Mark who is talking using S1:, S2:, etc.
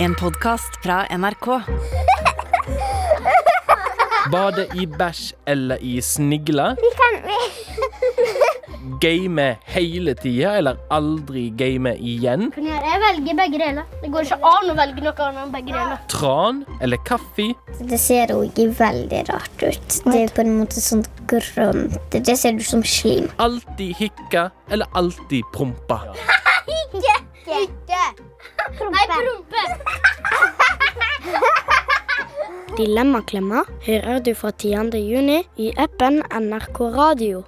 S1: En podkast fra NRK.
S2: Bade i bæsj eller i snigle.
S3: Vi kan vi,
S2: Game hele tida eller aldri game igjen.
S3: kan gjøre, Jeg velger begge deler. Det går ikke an å velge noe annet enn begge deler.
S2: Tran eller kaffe.
S4: Det ser jo ikke veldig rart ut. Det er på en måte sånn grønt. Det ser ut som slim.
S2: Alltid hikke eller alltid prompe.
S3: Ikke! Nei, prompe!
S5: Dilemmaklemma hører du fra 10. juni i appen NRK Radio.